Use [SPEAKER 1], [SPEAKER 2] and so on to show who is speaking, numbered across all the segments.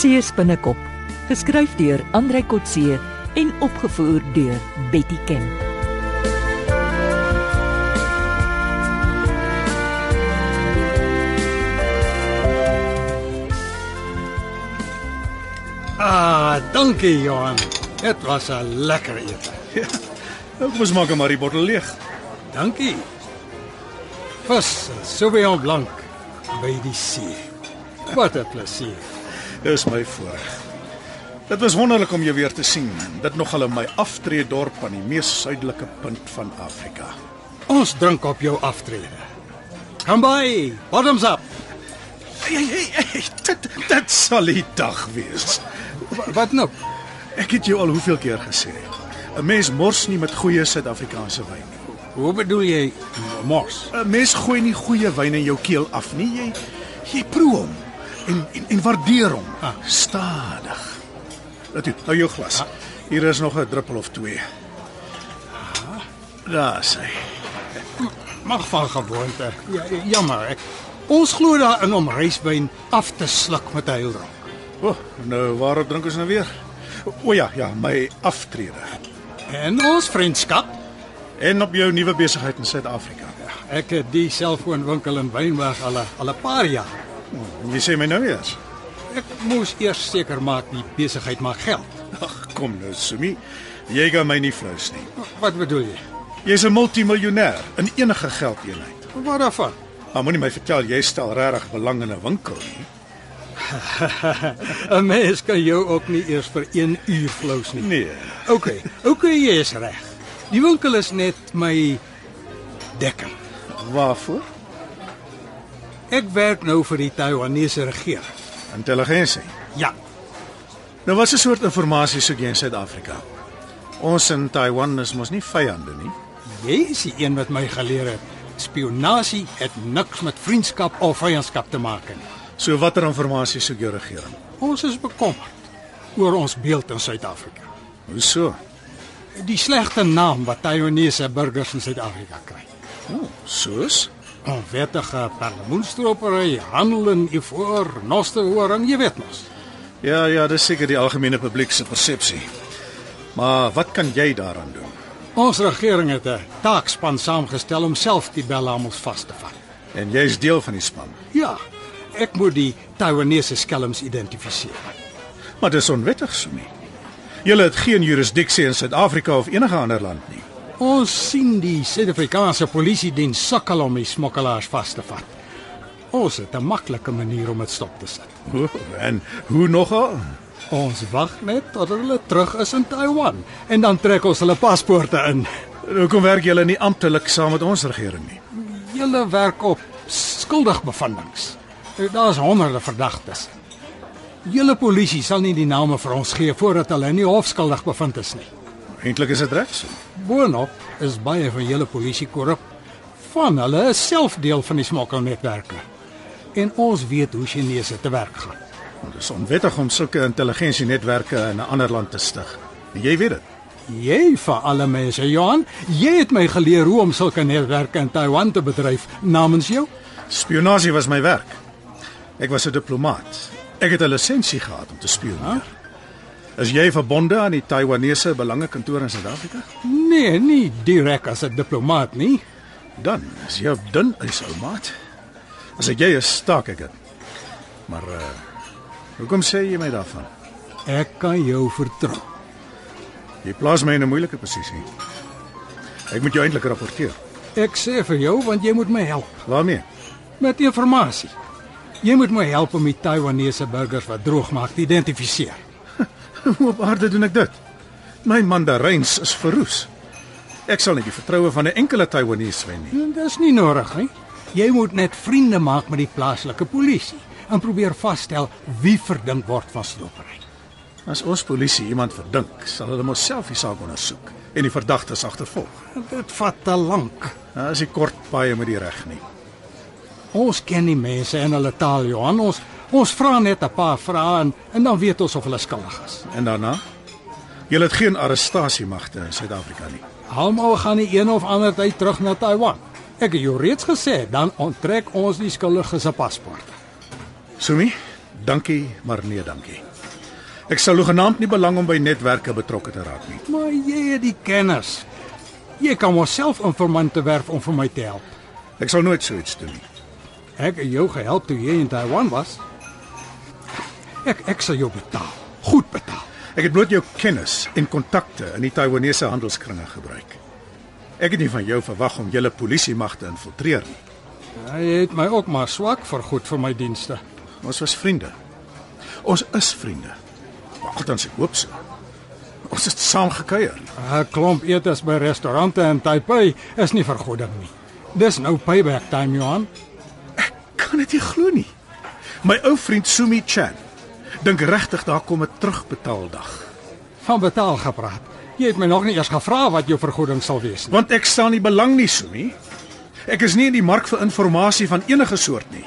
[SPEAKER 1] See se binnekop, geskryf deur Andrei Kotse en opgevoer deur Betty Ken.
[SPEAKER 2] Ah, dankie Johan. Dit was 'n lekker ete.
[SPEAKER 3] Ja. Ek moes Nou, maak maar die bottel leeg.
[SPEAKER 2] Dankie. Vis, en Sauvignon Blanc by die see. Wat 'n plesier.
[SPEAKER 3] Dis my voorreg. Dit was wonderlik om jou weer te sien. Dit nogal in my aftreedorp aan die mees suidelike punt van Afrika.
[SPEAKER 2] Ons drink op jou aftrede. Kom by. Bottoms up.
[SPEAKER 3] Hey, hey, hey, dit dit sal die dag wees.
[SPEAKER 2] Wa- Wat nou?
[SPEAKER 3] Ek het jou al hoeveel keer gesê. 'n Mens mors nie met goeie Suid-Afrikaanse wyn nie.
[SPEAKER 2] Hoe bedoel jy m- mors?
[SPEAKER 3] 'n Mens gooi nie goeie wyn in jou keel af nie. Jy jy proe hom en en, en waardeer hom.
[SPEAKER 2] Ah.
[SPEAKER 3] Stadig. Laat toe, nou jou glas. Hier is nog 'n druppel of twee. Daar's hy.
[SPEAKER 2] Mag van gewoonte. Ja, jammer ek. Ons glo daarin om ryswyn af te sluk met 'n heel drank.
[SPEAKER 3] O, nou waarop drink ons nou weer? O ja, ja, my aftrede.
[SPEAKER 2] En ons vriendskap.
[SPEAKER 3] En op jou nuwe besigheid in Suid-Afrika. Ja.
[SPEAKER 2] Ek het die selfoonwinkel in Wynberg al 'n- al 'n paar jaar.
[SPEAKER 3] En jy sê my nou eers.
[SPEAKER 2] Ek moes eers seker maak die besigheid maak geld.
[SPEAKER 3] Ag, kom nou, Sumi. Jy gaan my nie flous nie.
[SPEAKER 2] Wat bedoel jy?
[SPEAKER 3] Jy's 'n multimiljonair in enige geldeenheid.
[SPEAKER 2] Wat daarvan?
[SPEAKER 3] Maar moenie my vertel jy stel regtig belang in 'n winkel nie.
[SPEAKER 2] 'n Mens kan jou ook nie eers vir 1 uur flous nie.
[SPEAKER 3] Nee.
[SPEAKER 2] OK. OK, jy is reg. Die winkel is net my dekking.
[SPEAKER 3] Waarvoor?
[SPEAKER 2] Ek werk nou vir die Taiwanese regering.
[SPEAKER 3] Intelligensie.
[SPEAKER 2] Ja.
[SPEAKER 3] Nou wat 'n soort inligting soek jy in Suid-Afrika? Ons in Taiwan is mos nie vyande nie.
[SPEAKER 2] Jy is die een wat my geleer het. Spionasie het niks met vriendskap of vyandskap te maak nie.
[SPEAKER 3] So watter inligting soek jou regering?
[SPEAKER 2] Ons is bekommerd oor ons beeld in Suid-Afrika.
[SPEAKER 3] Hoe so?
[SPEAKER 2] Die slegte naam wat Taiwanese burgers in Suid-Afrika kry.
[SPEAKER 3] O, soos?
[SPEAKER 2] onwettige perlemoenstropery, handel in ivoor, nosterhoring, jy weet mos.
[SPEAKER 3] Ja, ja, dis seker die algemene publiek se persepsie. Maar wat kan jy daaraan doen?
[SPEAKER 2] Ons regering het 'n taakspan saamgestel om self die belhamels vas te vat.
[SPEAKER 3] En jy's deel van die span.
[SPEAKER 2] Ja, ek moet die Taiwanese skelms identifiseer.
[SPEAKER 3] Maar dis onwettig, Sumi. Julle het geen jurisdiksie in Suid-Afrika of enige ander land nie.
[SPEAKER 2] Ons sien die Suid-Afrikaanse polisie diens sukkel om die smokkelaars vas te vat. Ons het 'n maklike manier om dit stop te sit.
[SPEAKER 3] O, En hoe nogal?
[SPEAKER 2] Ons wag net tot hulle terug is in Taiwan en dan trek ons hulle paspoorte in.
[SPEAKER 3] Hoekom werk julle nie amptelik saam met ons regering nie?
[SPEAKER 2] Julle werk op skuldigbevindings. Daar's honderde verdagtes. Julle polisie sal nie die name vir ons gee voordat hulle nie hof skuldig bevind is nie.
[SPEAKER 3] Eintlik is dit reg so.
[SPEAKER 2] Boonop is baie van julle polisie korrup. Van hulle is self deel van die smokkelnetwerke. En ons weet hoe Chinese te werk gaan.
[SPEAKER 3] Want Dit is onwettig om sulke intelligensienetwerke in 'n ander land te stig. En jy weet dit.
[SPEAKER 2] Jy vir alle mense, Johan, jy het my geleer hoe om sulke netwerke in Taiwan te bedryf namens jou.
[SPEAKER 3] Spionasie was my werk. Ek was 'n diplomaat. Ek het 'n lisensie gehad om te spioneer. Is jy verbonde aan die Taiwanese belangekantoor in Suid-Afrika?
[SPEAKER 2] Nee, nie direk as 'n diplomaat nie.
[SPEAKER 3] Dan is jy op dun ys, ou maat. As ek jy is, staak ek dit. Maar uh hoekom sê jy my daarvan?
[SPEAKER 2] Ek kan jou vertrou.
[SPEAKER 3] Jy plaas my in 'n moeilike posisie. Ek moet jou eintlik rapporteer.
[SPEAKER 2] Ek sê vir jou want jy moet my help
[SPEAKER 3] Waarmee?
[SPEAKER 2] met informasie. Jy moet my help om die Taiwanese burgers wat droog maak te identifiseer.
[SPEAKER 3] Hoe op aarde doen ek dit? My mandaryns is verroes. Ek sal nie die vertroue van 'n enkele Taiwanese wen nie.
[SPEAKER 2] En Dis nie nodig nie. Jy moet net vriende maak met die plaaslike polisie en probeer vasstel wie verdink word van slopery.
[SPEAKER 3] As ons polisie iemand verdink, sal hulle mos self die saak ondersoek en die verdagtes agtervolg.
[SPEAKER 2] Dit vat te lank.
[SPEAKER 3] Nou is die kort paai met die reg nie.
[SPEAKER 2] Ons ken die mense en hulle taal, Johan. Ons ons vra net 'n paar vrae en, en dan weet ons of hulle skuldig is.
[SPEAKER 3] En daarna? Jy het geen arrestasiemagte in Suid-Afrika nie.
[SPEAKER 2] Almal gaan die een of ander tyd terug na Taiwan. Ek het jou reeds gesê, dan onttrek ons die skuldiges se paspoorte.
[SPEAKER 3] Sumi, dankie, maar nee, dankie. Ek sal hoegenaamd nie belang om by netwerke betrokke te raak nie.
[SPEAKER 2] Maar jy het die kennis. Jy kan mos self informante werf om vir my te help.
[SPEAKER 3] Ek sal nooit so iets doen nie.
[SPEAKER 2] Ek het jou gehelp toe jy in Taiwan was. Ek ek sal jou betaal. Goed betaal.
[SPEAKER 3] Ek het bloot jou kennis en kontakte in die Taiwanese handelskringe gebruik. Ek het nie van jou verwag om julle polisiemag te infiltreer nie.
[SPEAKER 2] Hy het my ook maar swak vergoed vir my dienste.
[SPEAKER 3] Ons was vriende. Ons is vriende. Maar althans ek hoop so. Ons het saam gekuier.
[SPEAKER 2] 'n Klomp etes by restaurante in Taipei is nie vergoeding nie. Dis nou payback time, Johan.
[SPEAKER 3] Kan dit nie glo nie. My ou vriend Sumi Chan dink regtig daar kom 'n terugbetaaldag,
[SPEAKER 2] Van betaal gepraat. Jy het my nog nie eers gevra wat jou vergoeding sal wees nie.
[SPEAKER 3] want ek staan nie belang nie, Sumi. Ek is nie in die mark vir inligting van enige soort nie.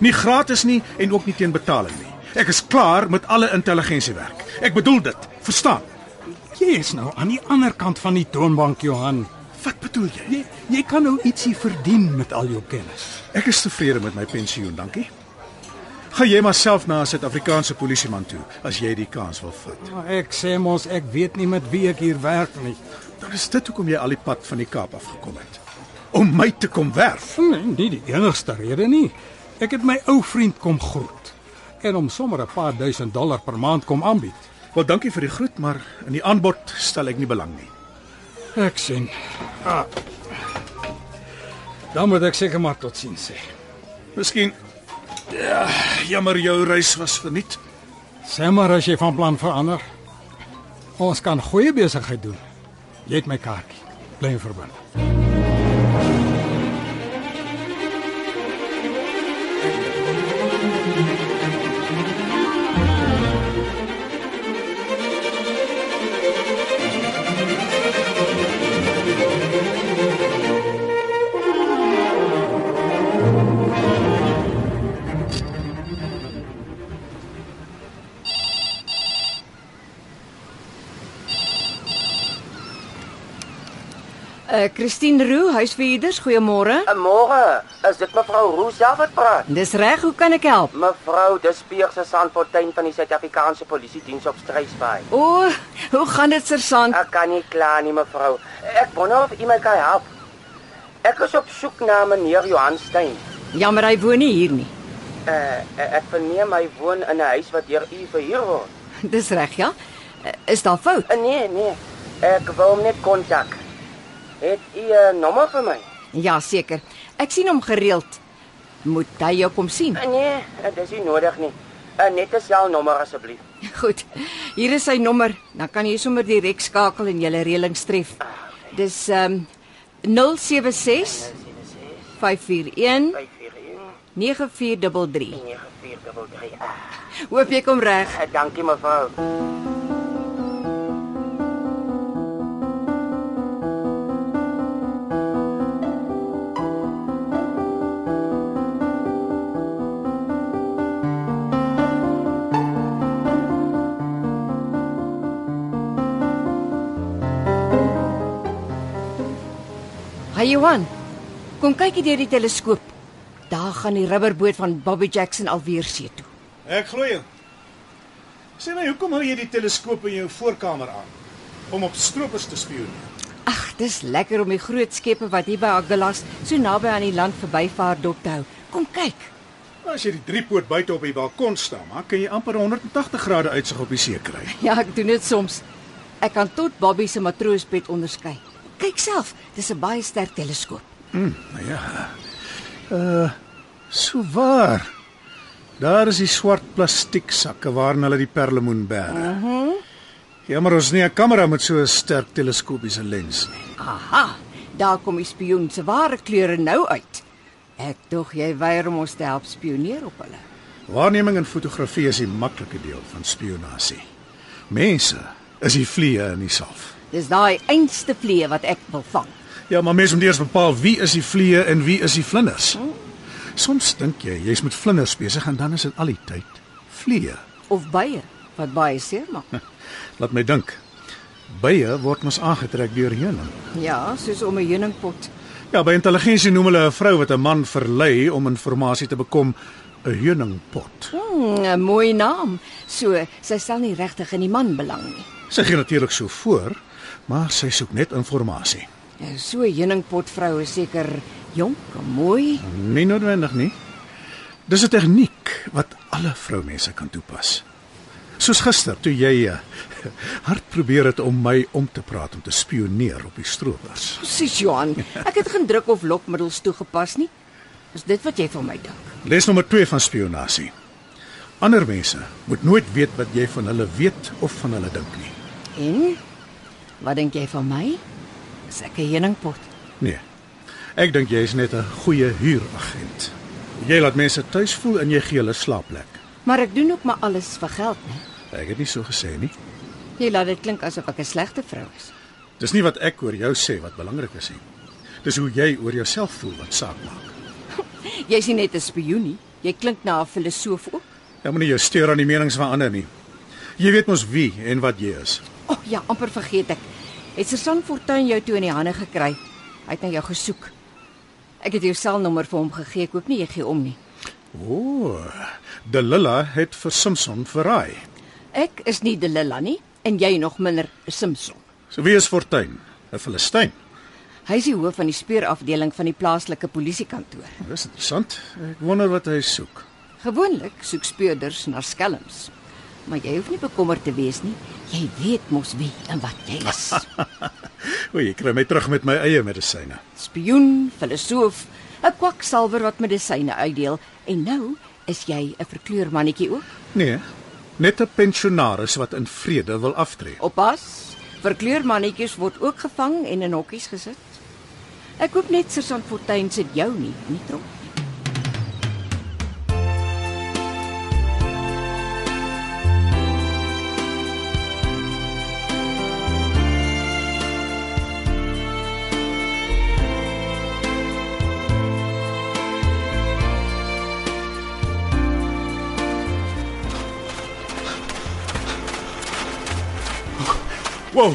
[SPEAKER 3] Nie gratis nie en ook nie teen betaling nie. Ek is klaar met alle intelligensiewerk. Ek bedoel dit, verstaan?
[SPEAKER 2] Jy is nou aan die ander kant van die toonbank, Johan.
[SPEAKER 3] Wat bedoel jy?
[SPEAKER 2] Jy jy kan nou ietsie verdien met al jou kennis.
[SPEAKER 3] Ek is tevrede met my pensioen, dankie. Gaan jy maar self na 'n Suid-Afrikaanse polisieman toe as jy die kans wil vat.
[SPEAKER 2] Maar ek sê mos ek weet nie met wie ek hier werk nie.
[SPEAKER 3] Dan is dit hoekom jy al die pad van die Kaap af gekom het. Om my te kom werf.
[SPEAKER 2] Nee, nie die enigste rede nie. Ek het my ou vriend kom groet en hom sommer 'n paar duisend dollar per maand kom aanbied.
[SPEAKER 3] Wel, dankie vir die groet, maar in die aanbod stel ek nie belang nie.
[SPEAKER 2] Ek sien. Ah. Dan moet ek seker maar tot sins sê.
[SPEAKER 3] Miskien ja, jammer jou reis was verniet.
[SPEAKER 2] Sê maar as jy van plan verander. Ons kan goeie besigheid doen. Jy het my kaartjie. Bly in verband.
[SPEAKER 4] Uh, Christine Roo, huisbeheerders, goeiemôre.
[SPEAKER 5] Eh, Môre, is dit mevrou Roo self wat praat?
[SPEAKER 4] Dis reg, hoe kan ek help?
[SPEAKER 5] Mevrou, dis Pier se Sanfontein van die Suid-Afrikaanse Polisie Diens op Strysbaai.
[SPEAKER 4] O, oh, hoe gaan dit, sergeant?
[SPEAKER 5] Ek kan nie kla nie, mevrou. Ek wonder of u my kan help. Ek is op soek na meneer Johan Stein.
[SPEAKER 4] Jammer, hy woon nie hier nie.
[SPEAKER 5] Uh, ek verneem hy woon in 'n huis wat deur u verhuur word.
[SPEAKER 4] Dis reg, ja? Uh, Is daar fout?
[SPEAKER 5] Uh, nee, nee. Ek wil hom net kontak. Het u 'n uh, nommer vir my?
[SPEAKER 4] Ja, seker. Ek sien hom gereeld. Moet hy jou kom sien?
[SPEAKER 5] Uh, nee, uh, dis nie nodig nie. Uh, net 'n selnommer asseblief.
[SPEAKER 4] Goed. Hier is sy nommer. Dan kan jy sommer direk skakel en julle reëling tref. Dis ehm um, 076 541
[SPEAKER 5] 541
[SPEAKER 4] 9433.
[SPEAKER 5] 9433. Ah,
[SPEAKER 4] Hoop jy kom reg.
[SPEAKER 5] eh, dankie mevrou.
[SPEAKER 4] Hey Johan. Kom kyk hier deur die teleskoop. Daar gaan die rubberboot van Bobby Jackson alweer see toe.
[SPEAKER 3] Ek glo jou. Sê my, hoekom hou jy die teleskoop in jou voorkamer aan om op stroopers te spioen?
[SPEAKER 4] Ag, dis lekker om die groot skepe wat hier by Agulhas so naby aan die land verbyvaar dop te hou. Kom kyk.
[SPEAKER 3] Nou, As jy die driepoot buite op die balkon staan, maar kan jy amper 180 grade uitsig op die see kry.
[SPEAKER 4] Ja, ek doen dit soms. Ek kan tot Bobby se matroosbed onderskei. Kyk self, dis 'n baie sterk teleskoop.
[SPEAKER 3] Nou ja. Uh, so waar. Daar is die swart plastiek sakke waarin hulle die perlemoen bære. Mhm. Uh -huh. Jammer ons het nie 'n kamera met so 'n sterk teleskopiese lens nie.
[SPEAKER 4] Aha, daar kom die spioen se ware kleure nou uit. Ek dog jy weier om ons te help spioneer op hulle.
[SPEAKER 3] Waarneming en fotografie is die maklike deel van spionasie. Mense is die vliee in die salf.
[SPEAKER 4] Dis daai einste vlee wat ek wil vang.
[SPEAKER 3] Ja, maar mense moet eers bepaal wie is die vliee en wie is die vlinders. Soms dink jy jy's met vlinders besig en dan is dit al die tyd vliee.
[SPEAKER 4] of bye wat baie seer maak.
[SPEAKER 3] Laat my dink. Bye word mos aangetrek deur heuning.
[SPEAKER 4] Ja, soos om 'n heuningpot.
[SPEAKER 3] Ja, by intelligensie noem hulle 'n vrou wat 'n man verlei om inligting te bekom 'n heuningpot.
[SPEAKER 4] Hmm, 'n mooi naam. So, sy stel nie regtig in die man belang nie.
[SPEAKER 3] Sy gee natuurlik so voor, maar sy soek net inligting.
[SPEAKER 4] Nou, So 'n heuningpotvroue seker jonk, en mooi.
[SPEAKER 3] Nie noodwendig nie. Dis 'n tegniek wat alle vroumense kan toepas. Soos gister toe jy eh, hard probeer het om my om te praat om te spioneer op die stroopers.
[SPEAKER 4] Presies, Johan. Ek het geen druk of lokmiddels toegepas nie. Is dit wat jy van my dink?
[SPEAKER 3] Les nommer 2 van spionasie. Ander mense moet nooit weet wat jy van hulle weet of van hulle dink nie.
[SPEAKER 4] En wat dink jy van my? Is ek 'n heuningpot?
[SPEAKER 3] Nee. Ek dink jy is net 'n goeie huuragent. Jy laat mense tuis voel en jy gee hulle slaapplek.
[SPEAKER 4] Maar ek doen ook maar alles vir geld, né?
[SPEAKER 3] Ek het nie so gesê nie.
[SPEAKER 4] Jy laat dit klink asof ek 'n slegte vrou is.
[SPEAKER 3] Dis nie wat ek oor jou sê wat belangrik is nie. Dis hoe jy oor jouself voel wat saak maak.
[SPEAKER 4] Jy's nie net 'n spioen nie. Jy klink na 'n filosoof ook.
[SPEAKER 3] Jy moenie jou steur aan die menings van ander nie. Jy weet mos wie en wat jy is.
[SPEAKER 4] O oh, ja, amper vergeet ek. Het Susan Fortuin jou toe in die hande gekry? Hy het na jou gesoek. Ek het jou selnommer vir hom gegee. Ek hoop nie jy gee om nie.
[SPEAKER 3] O, oh, Delilla het vir Simpson verraai.
[SPEAKER 4] Ek is nie Delila nie en jy nog minder Simpson.
[SPEAKER 3] So wie is Fortuin? 'n Filistyn.
[SPEAKER 4] Hy is die hoof van die speurafdeling van die plaaslike polisiekantoor.
[SPEAKER 3] Dis interessant. Ek wonder wat hy soek.
[SPEAKER 4] Gewoonlik soek speurders na skelms. Maar jy hoef nie bekommerd te wees nie. Jy weet mos wie en wat jy is.
[SPEAKER 3] O, jy kry my terug met my eie medisyne.
[SPEAKER 4] Spioen, filosoof, 'n kwaksalwer wat medisyne uitdeel en nou is jy 'n verkleurmannetjie ook.
[SPEAKER 3] Nee, net 'n pensionaris wat in vrede wil aftree.
[SPEAKER 4] Oppas, verkleurmannetjies word ook gevang en in hokkies gesit. Ek hoop net Sergeant Fortuin sit jou nie, nie trop.
[SPEAKER 6] Wow.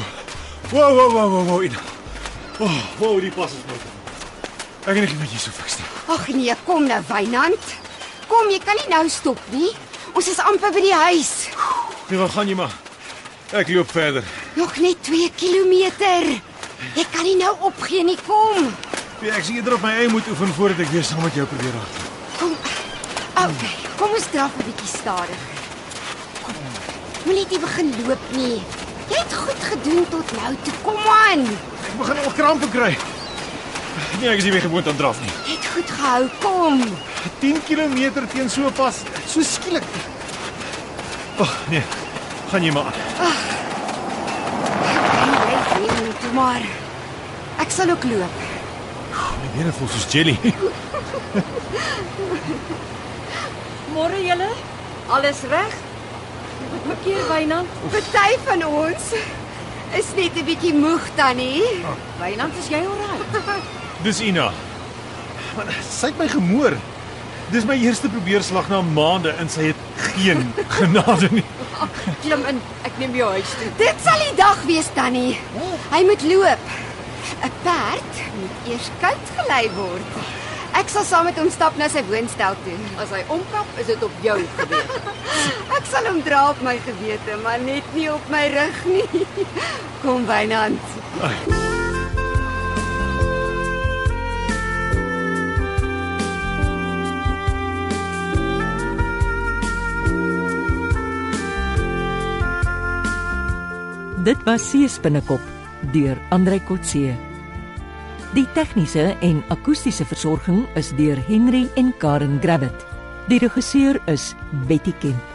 [SPEAKER 6] Wow, wow, wow, wow, wow. Ina. Oh, wow, die pas is mooi. Ek kan nie met jou so fiks nie.
[SPEAKER 7] Ag nee, kom nou Wynand. Kom, jy kan nie nou stop nie. Ons is amper by die huis.
[SPEAKER 6] Nee, waar gaan jy maar? Ek loop verder.
[SPEAKER 7] Nog net 2 kilometer. Jy kan nie nou opgee nie, kom.
[SPEAKER 6] Nee, ek sien eerder op my eie moet oefen voordat ek weer saam met jou probeer raak.
[SPEAKER 7] Kom. Okay, kom ons draf 'n bietjie stadig. Kom. Moenie net begin loop nie. Jy het goed gedoen tot nou toe. Kom aan.
[SPEAKER 6] Ek begin al krampe kry. Nee, ek is nie meer gewoond aan draf nie.
[SPEAKER 7] Jy het goed gehou. Kom.
[SPEAKER 6] 10 km teen so pas, so skielik. Ag, oh, nee. Gaan jy maar aan.
[SPEAKER 7] Jy doen toe maar. Ek sal ook loop.
[SPEAKER 6] My bene voel soos jelly.
[SPEAKER 4] Môre julle, alles reg? Wat maak jy, Wynand?
[SPEAKER 7] Party van ons is net 'n bietjie moeg tannie.
[SPEAKER 4] Wynand, is jy oukei?
[SPEAKER 6] Dis Ina. Man, sy het my gemoor. Dis my eerste probeerslag na maande en sy het geen genade nie.
[SPEAKER 4] Klim in, ek neem jou huis toe.
[SPEAKER 7] Dit sal die dag wees tannie. Hy moet loop. 'n Perd moet eers koud gelei word. Ek sal saam met hom stap na sy woonstel toe.
[SPEAKER 4] As hy omkap, is dit op jou gebeur.
[SPEAKER 7] Ek sal hom dra op my gewete, maar net nie op my rug nie. Kom Wynand.
[SPEAKER 1] Dit was Sees binnekop deur Andrei Kotse. Die tegniese en akoestiese versorging is deur Henry en Karen Gravett. Die regisseur is Betty Kemp.